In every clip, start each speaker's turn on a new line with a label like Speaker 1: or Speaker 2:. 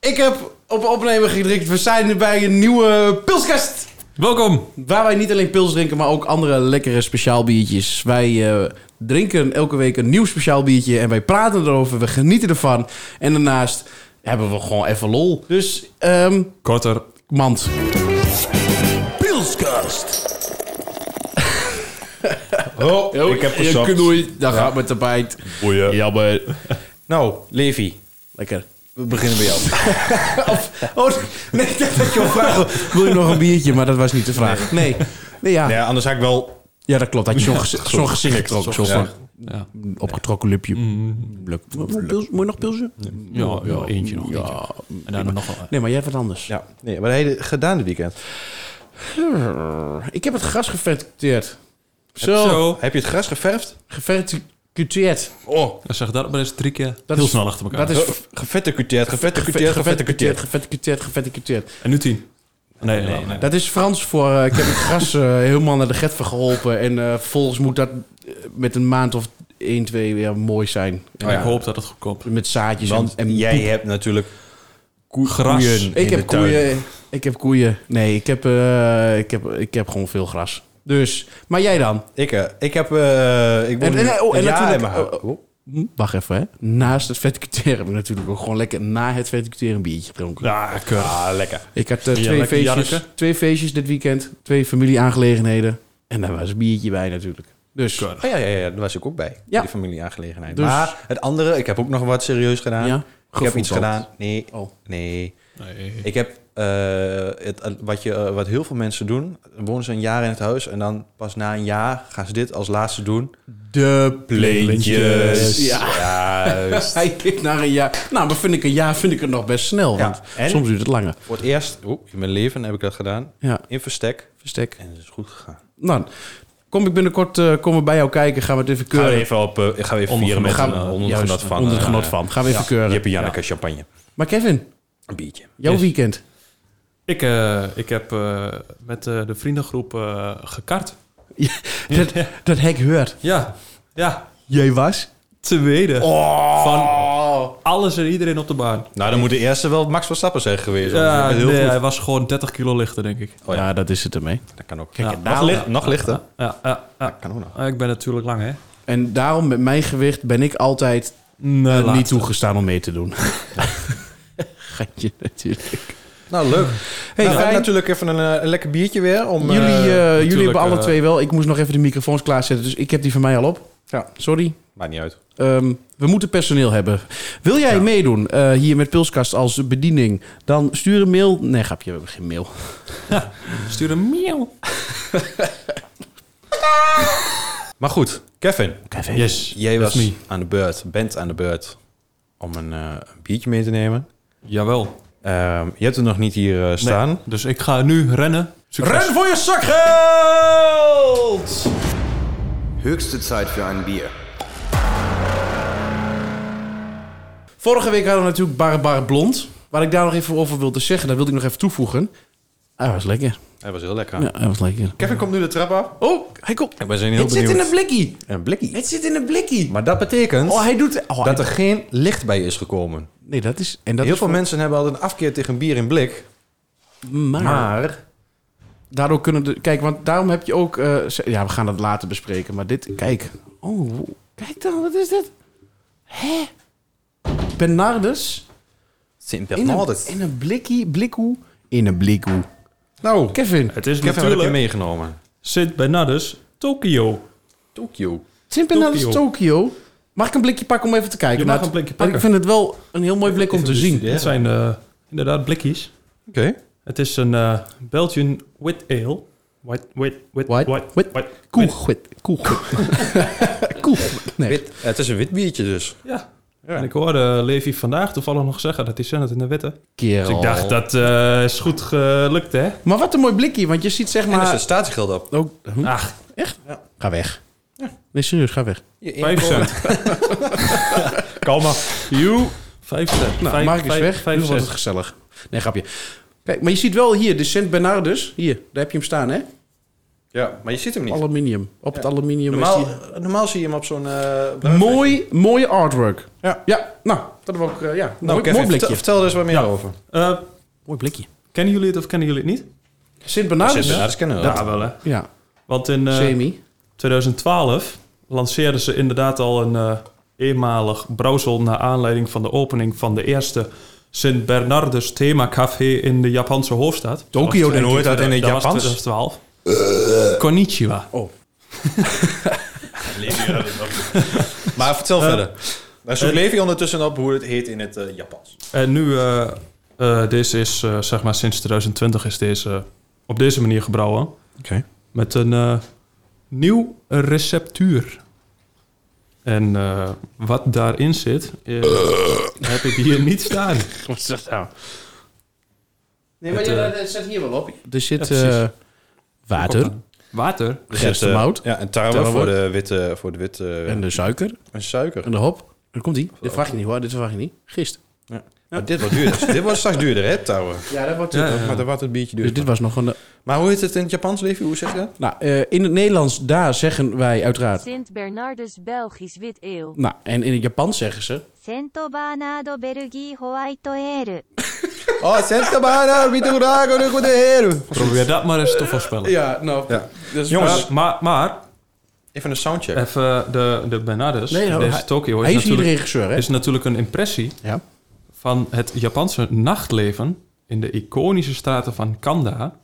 Speaker 1: Ik heb op opnemen gedrukt. We zijn bij een nieuwe pilskast.
Speaker 2: Welkom.
Speaker 1: Waar wij niet alleen pils drinken, maar ook andere lekkere speciaal biertjes. Wij eh, drinken elke week een nieuw speciaal biertje en wij praten erover. We genieten ervan. En daarnaast hebben we gewoon even lol. Dus, ehm
Speaker 2: Korter.
Speaker 1: mand.
Speaker 3: Pilskast.
Speaker 2: Oh, ik heb eh. gezocht.
Speaker 1: Knoei, daar gaat met de bijt.
Speaker 2: Boeien.
Speaker 1: Jammer.
Speaker 3: Nou, Levi,
Speaker 1: Lekker.
Speaker 3: we beginnen bij jou.
Speaker 1: Oh, nee, ik dacht dat je al vraagt. Wil je nog een biertje? Maar dat was niet de vraag. Nee. Nee, ja.
Speaker 3: Ja, anders had ik wel...
Speaker 1: Ja, dat klopt. Had je zo'n gez- zo'n gezicht getrokken. Zo'n
Speaker 3: gezicht.
Speaker 1: van- opgetrokken lipje. Luk. Pils- Moet je nog pilsen?
Speaker 2: Ja, ja, eentje nog.
Speaker 1: Ja.
Speaker 2: En daarna nog wel.
Speaker 1: Nee, maar jij hebt wat anders.
Speaker 3: Ja, nee, wat heb je gedaan dit weekend?
Speaker 1: Ik heb het gras geverticuteerd. Zo.
Speaker 2: Zo.
Speaker 3: Heb je het gras geverfd?
Speaker 1: Geverticuteerd.
Speaker 3: Oh,
Speaker 2: Dan Zeg dat maar eens drie keer.
Speaker 1: Dat
Speaker 2: Heel
Speaker 1: is-
Speaker 2: snel achter elkaar.
Speaker 1: Dat is
Speaker 3: geverticuteerd, geverticuteerd, geverticuteerd.
Speaker 1: geverticuteerd, geverticuteerd.
Speaker 2: En nu tien. Nee, nee, nee.
Speaker 1: Dat is Frans voor... eh, ik heb het gras eh, helemaal naar de getver geholpen. En eh, vervolgens moet dat eh, met een maand of 1, 2 weer mooi zijn. En
Speaker 2: En ik hoop dat het goed komt.
Speaker 1: Met zaadjes en-
Speaker 3: Want
Speaker 1: en,
Speaker 3: jij hebt natuurlijk koe-
Speaker 2: Gras.
Speaker 3: koeien in
Speaker 1: Ik
Speaker 3: de
Speaker 1: heb
Speaker 3: tuin.
Speaker 1: koeien. Ik heb koeien. Nee, ik heb, eh, ik heb, ik heb gewoon veel gras. Dus, maar jij dan?
Speaker 3: Ik, eh, ik heb... eh ik woon
Speaker 1: En- en-
Speaker 3: nu
Speaker 1: oh, en
Speaker 3: een jaar in
Speaker 1: natuurlijk-
Speaker 3: mijn huis.
Speaker 1: oh, Hm, Wacht even, hè. Naast het verticuteren heb ik natuurlijk ook gewoon lekker na het verticuteren een biertje gedronken.
Speaker 2: Ja, keurig.
Speaker 3: Ah, lekker.
Speaker 1: Ik had eh,
Speaker 2: Ja,
Speaker 1: twee,
Speaker 2: lekker
Speaker 1: feestjes,
Speaker 2: janneke.
Speaker 1: twee feestjes dit weekend, twee familieaangelegenheden. En daar was een biertje bij natuurlijk. Dus,
Speaker 2: Keurig.
Speaker 3: Oh, ja, ja, ja, daar was ik ook bij.
Speaker 1: Ja.
Speaker 3: Die familieaangelegenheid.
Speaker 1: Dus-
Speaker 3: Maar het andere, ik heb ook nog wat serieus gedaan.
Speaker 1: Ja,
Speaker 3: ik heb
Speaker 1: gevoetbald.
Speaker 3: iets gedaan. Nee,
Speaker 1: Oh.
Speaker 3: nee.
Speaker 2: Nee.
Speaker 3: Ik heb eh, het, eh, wat, je, eh, wat heel veel mensen doen. Dan Wonen ze een jaar in het huis en dan pas na een jaar gaan ze dit als laatste doen.
Speaker 1: de
Speaker 3: Pleintjes.
Speaker 1: Ja.
Speaker 3: Juist.
Speaker 1: Hij kijkt naar een jaar. Nou, maar vind ik een jaar vind ik het nog best snel.
Speaker 3: Ja,
Speaker 1: Want
Speaker 3: en?
Speaker 1: soms duurt het langer.
Speaker 3: Voor het eerst oeh, in mijn leven heb ik dat gedaan.
Speaker 1: Ja,
Speaker 3: In verstek.
Speaker 1: verstek.
Speaker 3: En het is goed gegaan.
Speaker 1: Nou, kom ik binnenkort eh kom ik bij jou kijken. Gaan we het even keuren.
Speaker 3: even, op, ik ga even
Speaker 2: vieren met
Speaker 1: Gaan we-
Speaker 3: eh,
Speaker 1: juist, onder het genot van. Gaan we even keuren.
Speaker 3: Janneke champagne.
Speaker 1: Maar Kevin,
Speaker 3: Een biertje.
Speaker 1: jouw
Speaker 2: Yes.
Speaker 1: weekend.
Speaker 2: Ik, eh, ik heb eh, met eh, de vriendengroep eh, gekart.
Speaker 1: Dat, dat hek heurt.
Speaker 2: Ja. Ja.
Speaker 1: Jij was?
Speaker 2: Tweede.
Speaker 3: Oh.
Speaker 2: Van alles en iedereen op de baan.
Speaker 3: Nou, dan moet de eerste wel Max Verstappen zijn geweest.
Speaker 2: Ja,
Speaker 3: Ja, heel
Speaker 2: nee,
Speaker 3: goed.
Speaker 2: hij was gewoon 30 kilo lichter, denk ik.
Speaker 3: Oh ja.
Speaker 1: ja. dat is het ermee.
Speaker 3: Dat kan ook.
Speaker 2: Kijk,
Speaker 3: Ja.
Speaker 2: en
Speaker 3: nog,
Speaker 2: daarom-
Speaker 3: licht- nog lichter.
Speaker 2: Ja, ja, ja.
Speaker 3: Kan ook nog.
Speaker 2: Ah, Ik ben natuurlijk lang, hè?
Speaker 1: En daarom met mijn gewicht ben ik altijd
Speaker 2: Nee,
Speaker 1: eh,
Speaker 2: laat.
Speaker 1: niet toegestaan om mee te doen. Gatje natuurlijk.
Speaker 3: Nou, leuk.
Speaker 1: Hey,
Speaker 3: nou,
Speaker 1: fijn.
Speaker 3: natuurlijk even een, eh, een lekker biertje weer. Om,
Speaker 1: jullie, eh,
Speaker 3: eh,
Speaker 1: jullie hebben alle
Speaker 2: eh,
Speaker 1: twee wel. Ik moest nog even de microfoons klaarzetten, dus ik heb die van mij al op.
Speaker 3: Ja.
Speaker 1: Sorry.
Speaker 3: Maakt niet uit.
Speaker 1: Ehm, we moeten personeel hebben. Wil jij meedoen eh, hier met Pilskast als bediening? Dan stuur een mail. Nee, grapje, we hebben geen mail.
Speaker 2: Stuur een mail.
Speaker 3: Maar goed, Kevin.
Speaker 1: Kevin.
Speaker 2: Yes.
Speaker 3: Jij
Speaker 2: that's
Speaker 3: was
Speaker 2: me.
Speaker 3: aan de beurt, bent aan de beurt om een, eh, een biertje mee te nemen.
Speaker 2: Jawel.
Speaker 3: Ehm, je hebt het nog niet hier eh, staan.
Speaker 2: Nee, dus ik ga nu rennen. Succes.
Speaker 3: Ren voor je zakgeld!
Speaker 4: Höchste Zeit für ein Bier.
Speaker 1: Vorige week hadden we natuurlijk Barbara Blond. Waar ik daar nog even over wilde zeggen, dat wilde ik nog even toevoegen. Hij was lekker.
Speaker 3: Hij was heel lekker.
Speaker 1: Ja, hij was lekker.
Speaker 3: Kevin komt nu de trap af.
Speaker 1: Oh, hij komt.
Speaker 3: Ik ben zijn heel
Speaker 1: Het
Speaker 3: benieuwd.
Speaker 1: zit in een blikkie.
Speaker 3: Een blikkie.
Speaker 1: Het zit in een blikkie.
Speaker 3: Maar dat betekent
Speaker 1: Oh, hij doet... Oh,
Speaker 3: dat
Speaker 1: hij-
Speaker 3: er geen licht bij is gekomen.
Speaker 1: nee, dat is... En dat
Speaker 3: heel
Speaker 1: is
Speaker 3: veel
Speaker 1: voor-
Speaker 3: mensen hebben altijd een afkeer tegen een bier in blik.
Speaker 1: Maar,
Speaker 3: Maar
Speaker 1: daardoor kunnen de... Kijk, want daarom heb je ook... eh, ze- ja, we gaan dat later bespreken. Maar dit... Kijk. Oh, kijk dan. Wat is dit? Hé? Bernardus.
Speaker 3: sint
Speaker 1: In een, in een blikkie. Blikkoe. In een blikkoe.
Speaker 3: Nou, Kevin,
Speaker 1: Kevin.
Speaker 2: Het is
Speaker 3: Kevin heb je
Speaker 2: natuurlijk
Speaker 3: meegenomen.
Speaker 2: Sint Bernardus, Tokio.
Speaker 3: Tokyo.
Speaker 1: Sint Bernardus
Speaker 2: Tokio.
Speaker 1: Tokio. Mag ik een blikje pakken om even te kijken?
Speaker 2: Je mag
Speaker 1: Nou,
Speaker 2: een blikje
Speaker 1: maar
Speaker 2: pakken.
Speaker 1: Ik vind het wel een heel mooi blik om te zien.
Speaker 2: dus Dit zijn eh, inderdaad blikjes.
Speaker 3: Oké.
Speaker 2: Het is een eh, Belgian wit ale. White, wit, wit,
Speaker 1: White?
Speaker 2: white,
Speaker 1: Wit?
Speaker 2: white- wit.
Speaker 1: Koegwit. Koegwit. Koegwit. Nee.
Speaker 3: Wit. Het is een wit biertje dus.
Speaker 2: Ja. En ik hoorde Levi vandaag toevallig nog zeggen dat hij het in de witte.
Speaker 1: Kerel.
Speaker 2: Dus ik dacht, dat eh, is goed gelukt, hè?
Speaker 1: Maar wat een mooi blikje, want je ziet zeg
Speaker 3: En er zit
Speaker 1: maar...
Speaker 3: statiegeld op.
Speaker 2: dus-
Speaker 1: Oh, hm?
Speaker 2: Ach,
Speaker 1: Ga weg. Nee, serieus, ga weg.
Speaker 2: 5 cent.
Speaker 3: Kalm maar.
Speaker 2: You. 5 cent.
Speaker 1: Nou,
Speaker 2: Vijf-
Speaker 1: Mark is
Speaker 2: vijf-
Speaker 1: weg,
Speaker 2: vijf
Speaker 1: nu wordt het
Speaker 2: cent.
Speaker 1: gezellig. Nee, grapje. Kijk, maar je ziet wel hier de Sint Bernardus. Hier, daar heb je hem staan, hè?
Speaker 3: Ja, maar je ziet hem
Speaker 1: Oh,
Speaker 3: niet.
Speaker 1: Aluminium. Op het aluminium
Speaker 3: Normaal, eh,
Speaker 1: is
Speaker 3: normaal zie je hem op zo'n... eh,
Speaker 1: die... Mooi, mooie artwork.
Speaker 3: Ja.
Speaker 1: Ja, nou, dat was ook... eh, ja,
Speaker 3: Nou,
Speaker 1: mooi,
Speaker 3: Kevin,
Speaker 1: mooi
Speaker 3: vertel,
Speaker 1: blikje.
Speaker 3: vertel er eens wat meer
Speaker 2: Ja.
Speaker 3: over.
Speaker 2: Eh,
Speaker 1: Mooi blikje.
Speaker 2: kennen jullie het of kennen jullie het niet?
Speaker 1: Sint Bernardus.
Speaker 3: Ah, dus- Ja, dat kennen we.
Speaker 2: Ja, wel hè.
Speaker 1: Ja,
Speaker 2: Want in eh,
Speaker 1: semi.
Speaker 2: 2012 lanceerden ze inderdaad al een eh, eenmalig brouwsel... naar aanleiding van de opening van de eerste Sint Bernardus themacafé in de Japanse hoofdstad.
Speaker 1: Tokio,
Speaker 2: was-
Speaker 1: denk
Speaker 3: En hoe
Speaker 1: ik.
Speaker 3: heet dat dus- in het
Speaker 2: Dat was
Speaker 3: Japans?
Speaker 2: 2012. Konnichiwa.
Speaker 1: Oh,
Speaker 3: Maar vertel
Speaker 2: Eh,
Speaker 3: verder. Daar zoek
Speaker 2: eh,
Speaker 3: Levi ondertussen op hoe het heet in het eh, Japans.
Speaker 2: En nu, eh, eh, deze is, eh, zeg maar sinds 2020 is deze op deze manier gebrouwen.
Speaker 1: Oké.
Speaker 2: Met een eh, nieuw receptuur. En eh, wat daarin zit, eh, heb ik hier niet staan.
Speaker 1: wat is dat nou? Nee,
Speaker 2: maar Het, ja, eh,
Speaker 1: dat zit hier wel op. Er zit
Speaker 2: Ja, precies.
Speaker 1: eh, water
Speaker 2: Water?
Speaker 3: Er eh,
Speaker 1: Gerstemout.
Speaker 3: Ja, en tarwe
Speaker 1: Tarwe.
Speaker 3: voor de witte, voor de witte
Speaker 1: en de suiker
Speaker 3: en suiker.
Speaker 1: en de hop. Daar komt die. Dit vraag je niet hoor, dit vraag je niet. Gist.
Speaker 3: Maar dit wordt duurder. dit wordt straks duurder, hè, tarwe.
Speaker 1: Ja, dat wordt
Speaker 2: Ja, ja, ja.
Speaker 3: Maar dan wordt het biertje
Speaker 1: Dus
Speaker 3: duurder.
Speaker 1: dit was nog een...
Speaker 3: Maar hoe heet het in het Japans, Levi? Hoe zeg je dat?
Speaker 1: Nou, eh, in het Nederlands, daar zeggen wij uiteraard...
Speaker 5: Sint Bernardus Belgisch wit eeuw.
Speaker 1: Nou, en in het Japan zeggen ze...
Speaker 5: Sint Bernardo België White Ale.
Speaker 3: Oh, Sentabana, Miturago, de goede heer.
Speaker 2: Probeer dat maar eens te voorspellen.
Speaker 1: Ja, nou...
Speaker 3: Ja.
Speaker 1: Dus
Speaker 3: Jongens. Eh,
Speaker 2: Maar, maar, maar
Speaker 3: Ah, Even een soundcheck.
Speaker 2: even de, de Bernardus,
Speaker 1: Nee, nou,
Speaker 2: deze
Speaker 1: hij-
Speaker 2: Tokio,
Speaker 1: Hij
Speaker 2: is
Speaker 1: is hier de
Speaker 2: natuurlijk,
Speaker 1: regisseur, hè?
Speaker 2: is natuurlijk een impressie
Speaker 1: Ja.
Speaker 2: van het Japanse nachtleven in de iconische straten van Kanda,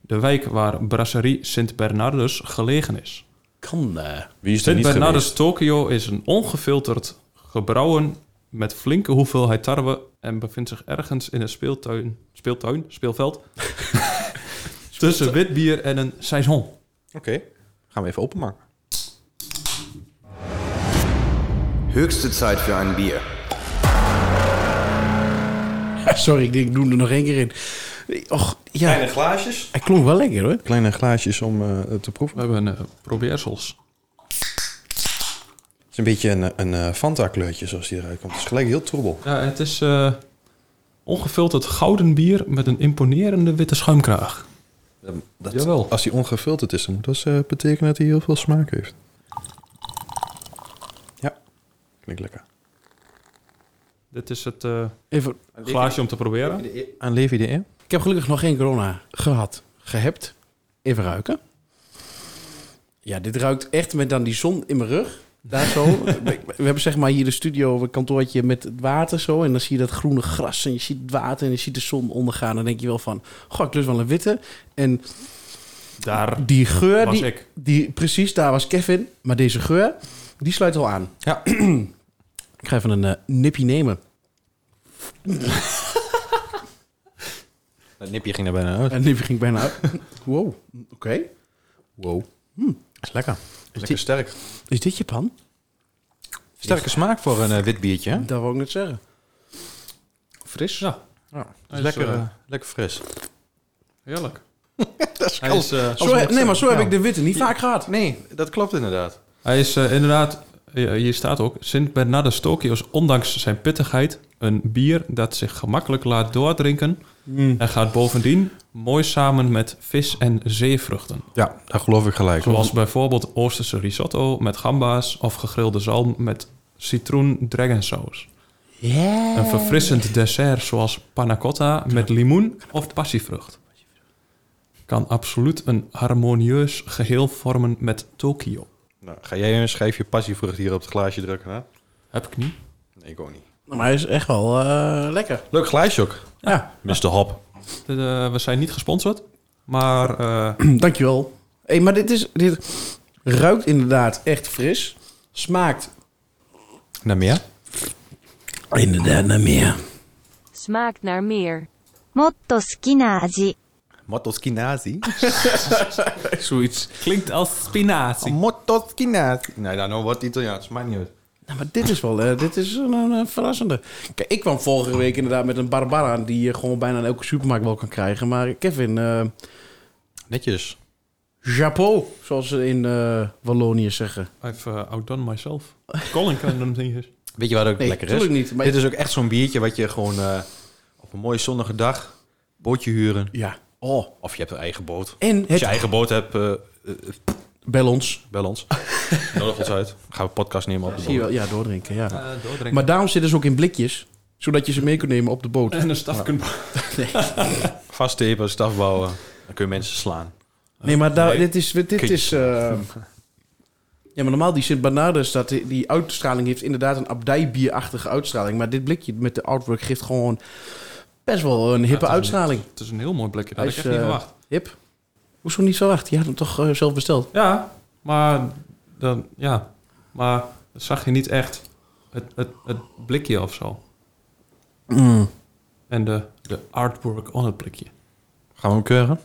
Speaker 2: de wijk waar brasserie Sint Bernardus gelegen is.
Speaker 1: Kan eh,
Speaker 3: Wie is
Speaker 2: Sint Bernardus Tokio is een ongefilterd gebrouwen met flinke hoeveelheid tarwe en bevindt zich ergens in een speeltuin, speeltuin, speelveld tussen wit bier en een saison.
Speaker 3: Oké, gaan we even openmaken.
Speaker 4: Höchste Zeit für ein Bier.
Speaker 1: Sorry, ik, denk, ik doe er nog één keer in. Och, ja,
Speaker 3: glaasjes.
Speaker 1: hij klonk wel lekker hoor.
Speaker 3: Kleine glaasjes om eh, te proeven.
Speaker 2: We hebben eh, probeersels.
Speaker 3: Het is een beetje een, een eh, Fanta-kleurtje zoals die eruit komt. Het is gelijk heel troebel.
Speaker 2: Ja, het is eh, ongefilterd gouden bier met een imponerende witte schuimkraag.
Speaker 3: Dat,
Speaker 2: Jawel.
Speaker 3: Als die ongefilterd is, dan moet dat eh, betekenen dat hij heel veel smaak heeft. Ja, klinkt lekker.
Speaker 2: Dit is het eh,
Speaker 1: Even,
Speaker 2: glaasje om te proberen.
Speaker 3: Aan Levi de Eer?
Speaker 1: ik heb gelukkig nog geen corona gehad, gehept. Even ruiken. Ja, dit ruikt echt met dan die zon in mijn rug. Daar zo. We we hebben zeg maar hier de studio, een kantoortje met het water zo. En dan zie je dat groene gras en je ziet het water en je ziet de zon ondergaan. Dan denk je wel van, goh, ik lust wel een witte. En
Speaker 2: Daar
Speaker 1: die geur,
Speaker 2: was
Speaker 1: die,
Speaker 2: ik.
Speaker 1: Die, precies, daar was Kevin. Maar deze geur, die sluit al aan.
Speaker 3: Ja.
Speaker 1: ik ga even een eh, nipje nemen.
Speaker 3: Dat nipje ging er bijna uit.
Speaker 1: En nipje ging bijna uit. wow, oké. Wow. is lekker. Is
Speaker 3: Lekker
Speaker 1: dit,
Speaker 3: sterk.
Speaker 1: is dit Japan?
Speaker 3: Sterke smaak voor een eh, wit biertje. hè?
Speaker 1: Dat wil ik net zeggen. Fris?
Speaker 2: Ja,
Speaker 3: Ja,
Speaker 2: Hij is,
Speaker 3: lekker,
Speaker 2: eh,
Speaker 3: eh, lekker fris.
Speaker 2: heerlijk.
Speaker 3: Dat is
Speaker 2: Hij is, eh,
Speaker 1: Zo, he- nee, maar zo heb ik de witte niet vaak gehad.
Speaker 3: Nee, dat klopt inderdaad.
Speaker 2: Hij is eh, inderdaad, eh, hier staat ook, Sint Bernardus Tokio is ondanks zijn pittigheid een bier dat zich gemakkelijk laat doordrinken.
Speaker 1: Mm.
Speaker 2: En gaat bovendien mooi samen met vis en zeevruchten.
Speaker 3: Ja, daar geloof ik gelijk.
Speaker 2: Zoals bijvoorbeeld Oosterse risotto met gamba's of gegrilde zalm met citroen dragonsaus. Een verfrissend dessert zoals panna cotta met limoen of passievrucht. Kan absoluut een harmonieus geheel vormen met Tokio.
Speaker 3: Nou, ga jij een schijfje passievrucht hier op het glaasje drukken? Hè?
Speaker 2: Heb ik niet.
Speaker 3: Nee, ik ook niet.
Speaker 1: Maar hij is echt wel eh, lekker.
Speaker 3: Leuk glaasje ook.
Speaker 1: Ja,
Speaker 3: Mr. Hop.
Speaker 2: Dit, eh, we zijn niet gesponsord, maar eh,
Speaker 1: dankjewel. Hé, maar dit, is, dit ruikt inderdaad echt fris. Smaakt
Speaker 3: Naar meer?
Speaker 1: inderdaad naar meer.
Speaker 5: Smaakt naar meer. Motto skinazi.
Speaker 3: Motoskinazi.
Speaker 1: Zoiets.
Speaker 2: klinkt als spinazie.
Speaker 3: Motoskinazi. Nee, daar nou wordt Italiaans. Maakt niet uit.
Speaker 1: Nou, maar dit is wel eh, dit is een, een, een verrassende. Kijk, ik kwam vorige week inderdaad met een Barbara die je gewoon bijna in elke supermarkt wel kan krijgen. Maar Kevin, eh
Speaker 3: Netjes.
Speaker 1: chapeau, zoals ze in eh, Wallonië zeggen.
Speaker 2: I've uh, outdone myself. Colin kan hem niet eens.
Speaker 3: Weet je wat ook
Speaker 1: Nee,
Speaker 3: lekker is?
Speaker 1: tuurlijk niet, maar-
Speaker 3: Dit is ook echt zo'n biertje wat je gewoon eh, op een mooie zonnige dag bootje huren.
Speaker 1: Ja. Oh.
Speaker 3: Of je hebt een eigen boot.
Speaker 1: En
Speaker 3: Als
Speaker 1: het,
Speaker 3: je eigen boot hebt, eh, eh,
Speaker 1: Bel ons.
Speaker 3: bel ons. Nodig ons uit. Gaan we podcast nemen op de
Speaker 1: Zie je
Speaker 3: boot.
Speaker 1: wel? Ja, doordrinken, ja.
Speaker 2: Eh, doordrinken.
Speaker 1: Maar daarom zitten ze ook in blikjes, zodat je ze mee kunt nemen op de boot.
Speaker 2: en een staf kunt...
Speaker 3: Vasttepen, staf bouwen. Dan kun je mensen slaan.
Speaker 1: Nee, maar daar,
Speaker 2: Nee.
Speaker 1: dit is... Dit
Speaker 3: Kies.
Speaker 1: is eh, ja, maar normaal die Sint Bernardus, dat die, die uitstraling heeft inderdaad een abdijbierachtige uitstraling. Maar dit blikje met de artwork geeft gewoon best wel een hippe
Speaker 2: Ja, het is een-
Speaker 1: uitstraling.
Speaker 2: Het is een heel mooi blikje. Dat
Speaker 1: Hij
Speaker 2: had ik
Speaker 1: is,
Speaker 2: echt niet
Speaker 1: eh,
Speaker 2: verwacht.
Speaker 1: Hip? Hoezo niet verwacht? Je had hem toch eh, zelf besteld?
Speaker 2: Ja, maar dan, ja. Maar dat zag je niet echt het, het, het blikje of zo. En de, de artwork on het blikje.
Speaker 3: Gaan we hem keuren?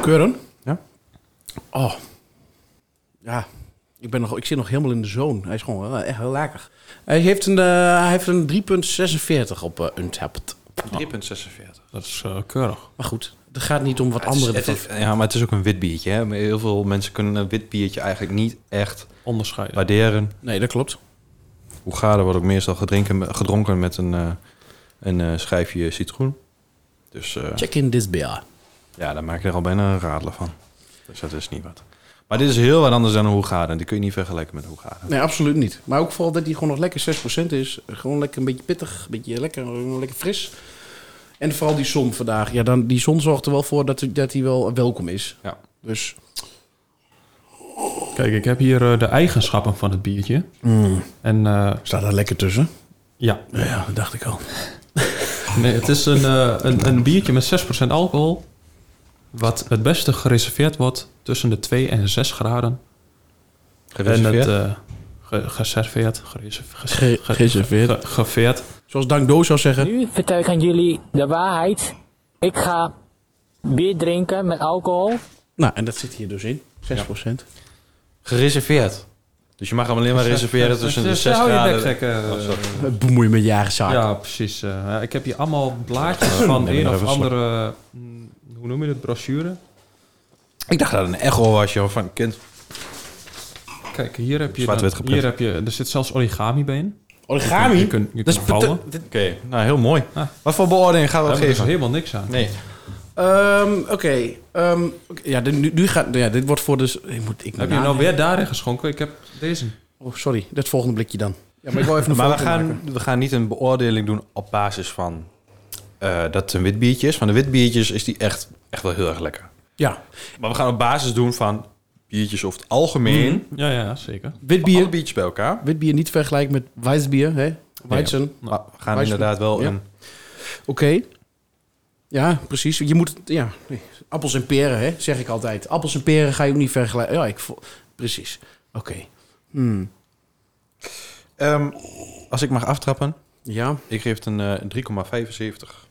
Speaker 1: Keuren?
Speaker 3: Ja.
Speaker 1: Oh. Ja. Ik, ben nog, ik zit nog helemaal in de zone. Hij is gewoon eh, echt heel lekker. Hij heeft een, eh, hij heeft een 3,46 op eh Untapped.
Speaker 3: 3,46.
Speaker 2: Dat is eh, keurig.
Speaker 1: Maar goed, het gaat niet om wat
Speaker 3: Het is-
Speaker 1: anderen
Speaker 3: het
Speaker 1: betreft.
Speaker 3: is- ja, maar het is ook een wit biertje. Hè? Maar Heel veel mensen kunnen een wit biertje eigenlijk niet echt
Speaker 2: Onderscheiden.
Speaker 3: waarderen.
Speaker 1: Nee, dat klopt.
Speaker 3: Hoe gaat er wordt ook meestal gedrinken, gedronken met een, eh, een eh, schijfje citroen. Dus eh,
Speaker 1: Check in this beer.
Speaker 3: ja, daar maak je er al bijna een radelen van. Dus dat is niet wat. Maar dit is heel wat anders dan een Hoegaden. Die kun je niet vergelijken met een Hoegaden.
Speaker 1: Nee, absoluut niet. Maar ook vooral dat hij gewoon nog lekker 6% is. Gewoon lekker een beetje pittig, een beetje lekker, eh, lekker fris. En vooral die zon vandaag. Ja, dan, die zon zorgt er wel voor dat, hij- dat hij wel welkom is.
Speaker 3: Ja.
Speaker 1: Dus
Speaker 2: Kijk, ik heb hier eh, de eigenschappen van het biertje. En eh,
Speaker 1: staat daar lekker tussen.
Speaker 2: ja,
Speaker 1: Ja, dat dacht ik al.
Speaker 2: nee, het is een, eh, een, een biertje met 6% alcohol. Wat het beste gereserveerd wordt tussen de 2 en 6 graden. En het,
Speaker 3: Gereserveerd?
Speaker 2: eh, ge- geserveerd, gereserve- ges-
Speaker 1: Ge-
Speaker 2: ge-
Speaker 1: geserveerd.
Speaker 2: ge- geveerd.
Speaker 1: Zoals Dank Do zou zeggen.
Speaker 6: Nu vertel ik aan jullie de waarheid. Ik ga bier drinken met alcohol.
Speaker 1: Nou, en dat zit hier dus in. 6%.
Speaker 3: Gereserveerd. Dus je mag hem alleen maar reserveren tussen de 6
Speaker 2: Hou je
Speaker 3: graden. Oh,
Speaker 2: bek, eh,
Speaker 1: Bemoei met je eigen zaak.
Speaker 2: Ja, precies. eh, ik heb hier allemaal blaadjes van
Speaker 3: ben
Speaker 2: een
Speaker 3: nog
Speaker 2: of
Speaker 3: even slok.
Speaker 2: andere, mm, hoe noem je het, brochure.
Speaker 3: Ik dacht dat het een echo was, joh, van kind.
Speaker 2: Kijk, hier heb je,
Speaker 3: Zwart-wit
Speaker 2: dan-
Speaker 3: geprint.
Speaker 2: hier heb je, er zit zelfs origami bij in.
Speaker 1: Origami?
Speaker 2: Je kunt, je kunt
Speaker 1: is
Speaker 2: vouwen.
Speaker 1: pete- dit-
Speaker 3: Oké, nou heel mooi.
Speaker 2: Ah.
Speaker 3: Wat voor beoordeling gaan we
Speaker 2: Daar
Speaker 3: het
Speaker 2: hebben we dus helemaal
Speaker 3: geven?
Speaker 2: niks aan.
Speaker 3: Nee.
Speaker 1: Ehm, Oké. ehm, oké, ja, dit- nu, nu gaat... Ja, dit wordt voor dus... Ik moet, ik
Speaker 2: Heb je nou weer daarin geschonken? Ik heb deze.
Speaker 1: Oh, sorry. Dat volgende blikje dan. Ja, maar ik wil even een
Speaker 3: Maar we
Speaker 1: foto maken.
Speaker 3: gaan, we gaan niet een beoordeling doen op basis van eh, dat het een wit biertje is. Van de wit biertjes is die echt, echt wel heel erg lekker.
Speaker 1: Ja.
Speaker 3: Maar we gaan op basis doen van biertjes over het algemeen.
Speaker 2: Ja, ja, zeker.
Speaker 1: Mhm. Wit
Speaker 3: Bier.
Speaker 1: bier. Nou,
Speaker 3: biertjes bij elkaar.
Speaker 1: Wit bier niet vergelijken met wijsbier, hè? Weizen.
Speaker 3: Maar we gaan
Speaker 1: Wijs-
Speaker 3: inderdaad wel
Speaker 1: Ja.
Speaker 3: een...
Speaker 1: Oké. Ja, precies. Je moet... het- Ja. nee. Appels en peren, hè? Zeg ik altijd. Appels en peren ga je ook niet vergelijken. Ja, ik... vo- Precies. Oké. Hmm.
Speaker 3: Ehm, als ik mag aftrappen,
Speaker 1: Ja.
Speaker 3: ik geef het een eh 3,75.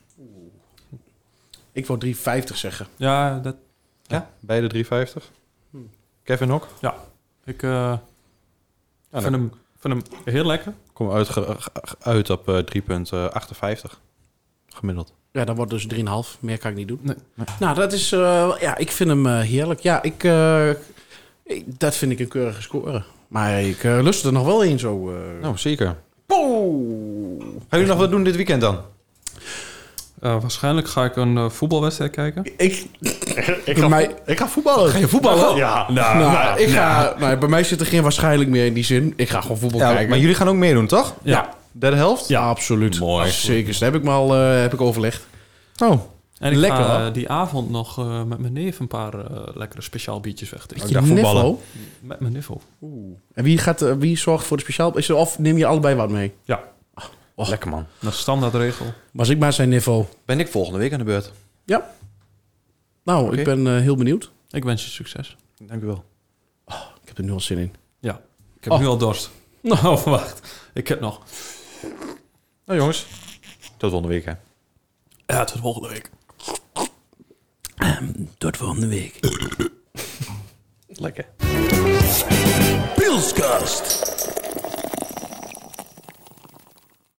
Speaker 1: Ik wou 3,50 zeggen.
Speaker 2: Ja, dat,
Speaker 3: Ja, beide 3,50. Kevin ook.
Speaker 2: ik eh
Speaker 3: Ja,
Speaker 2: vind,
Speaker 3: dan
Speaker 2: hem, vind hem heel lekker.
Speaker 3: kom uit, ge- ge- uit op eh 3,58 gemiddeld.
Speaker 1: Ja, dat wordt dus 3,5. Meer kan ik niet doen.
Speaker 2: Nee.
Speaker 1: Nou, dat is... eh, ja, ik vind hem eh, heerlijk. Ja, ik, eh, ik- Dat vind ik een keurige score. Maar ik eh, lust er nog wel een zo. eh.
Speaker 3: Nou, zeker. Gaan jullie nog wat doen dit weekend dan?
Speaker 2: Eh, waarschijnlijk ga ik een eh, voetbalwedstrijd kijken.
Speaker 1: Ik,
Speaker 7: Ik ga,
Speaker 1: Mij-
Speaker 7: ik ga voetballen.
Speaker 1: ga je voetballen?
Speaker 7: Ja,
Speaker 1: Nou,
Speaker 7: nou, nou,
Speaker 1: ik ga, nou, bij mij zit er geen waarschijnlijk meer in die zin. Ik ga gewoon voetbal
Speaker 3: Ja,
Speaker 1: kijken.
Speaker 3: maar jullie gaan ook meedoen, toch?
Speaker 2: Ja.
Speaker 3: Derde helft?
Speaker 1: ja, absoluut.
Speaker 3: Mooi.
Speaker 1: Zeker. Dat heb ik me al eh, heb ik overlegd.
Speaker 3: Oh,
Speaker 2: En ik
Speaker 1: Lekker,
Speaker 2: ga
Speaker 1: hoor.
Speaker 2: eh, die avond nog eh, met mijn neef een paar eh, lekkere speciaal biertjes wegdrinken.
Speaker 3: Ik dacht voetballen.
Speaker 1: Niffo.
Speaker 2: Met mijn niffel.
Speaker 1: En wie, gaat, eh, wie zorgt voor de speciaal? Is er, of neem je allebei wat mee?
Speaker 2: Ja,
Speaker 3: lekker man.
Speaker 2: een standaardregel.
Speaker 1: Was ik maar zijn Niffo.
Speaker 3: Ben ik volgende week aan de beurt.
Speaker 1: Ja. Nou,
Speaker 3: Oké.
Speaker 1: ik ben eh, heel benieuwd.
Speaker 2: Ik wens je succes.
Speaker 3: Dank u wel.
Speaker 1: Ik heb er nu al zin in.
Speaker 2: Ja, ik heb
Speaker 1: Oh.
Speaker 2: nu al dorst. Nou, wacht. Ik heb nog.
Speaker 3: Nou jongens, tot volgende week hè.
Speaker 2: Ja, tot volgende week. Ehm,
Speaker 1: Tot volgende week.
Speaker 3: Lekker.
Speaker 7: Pilskast.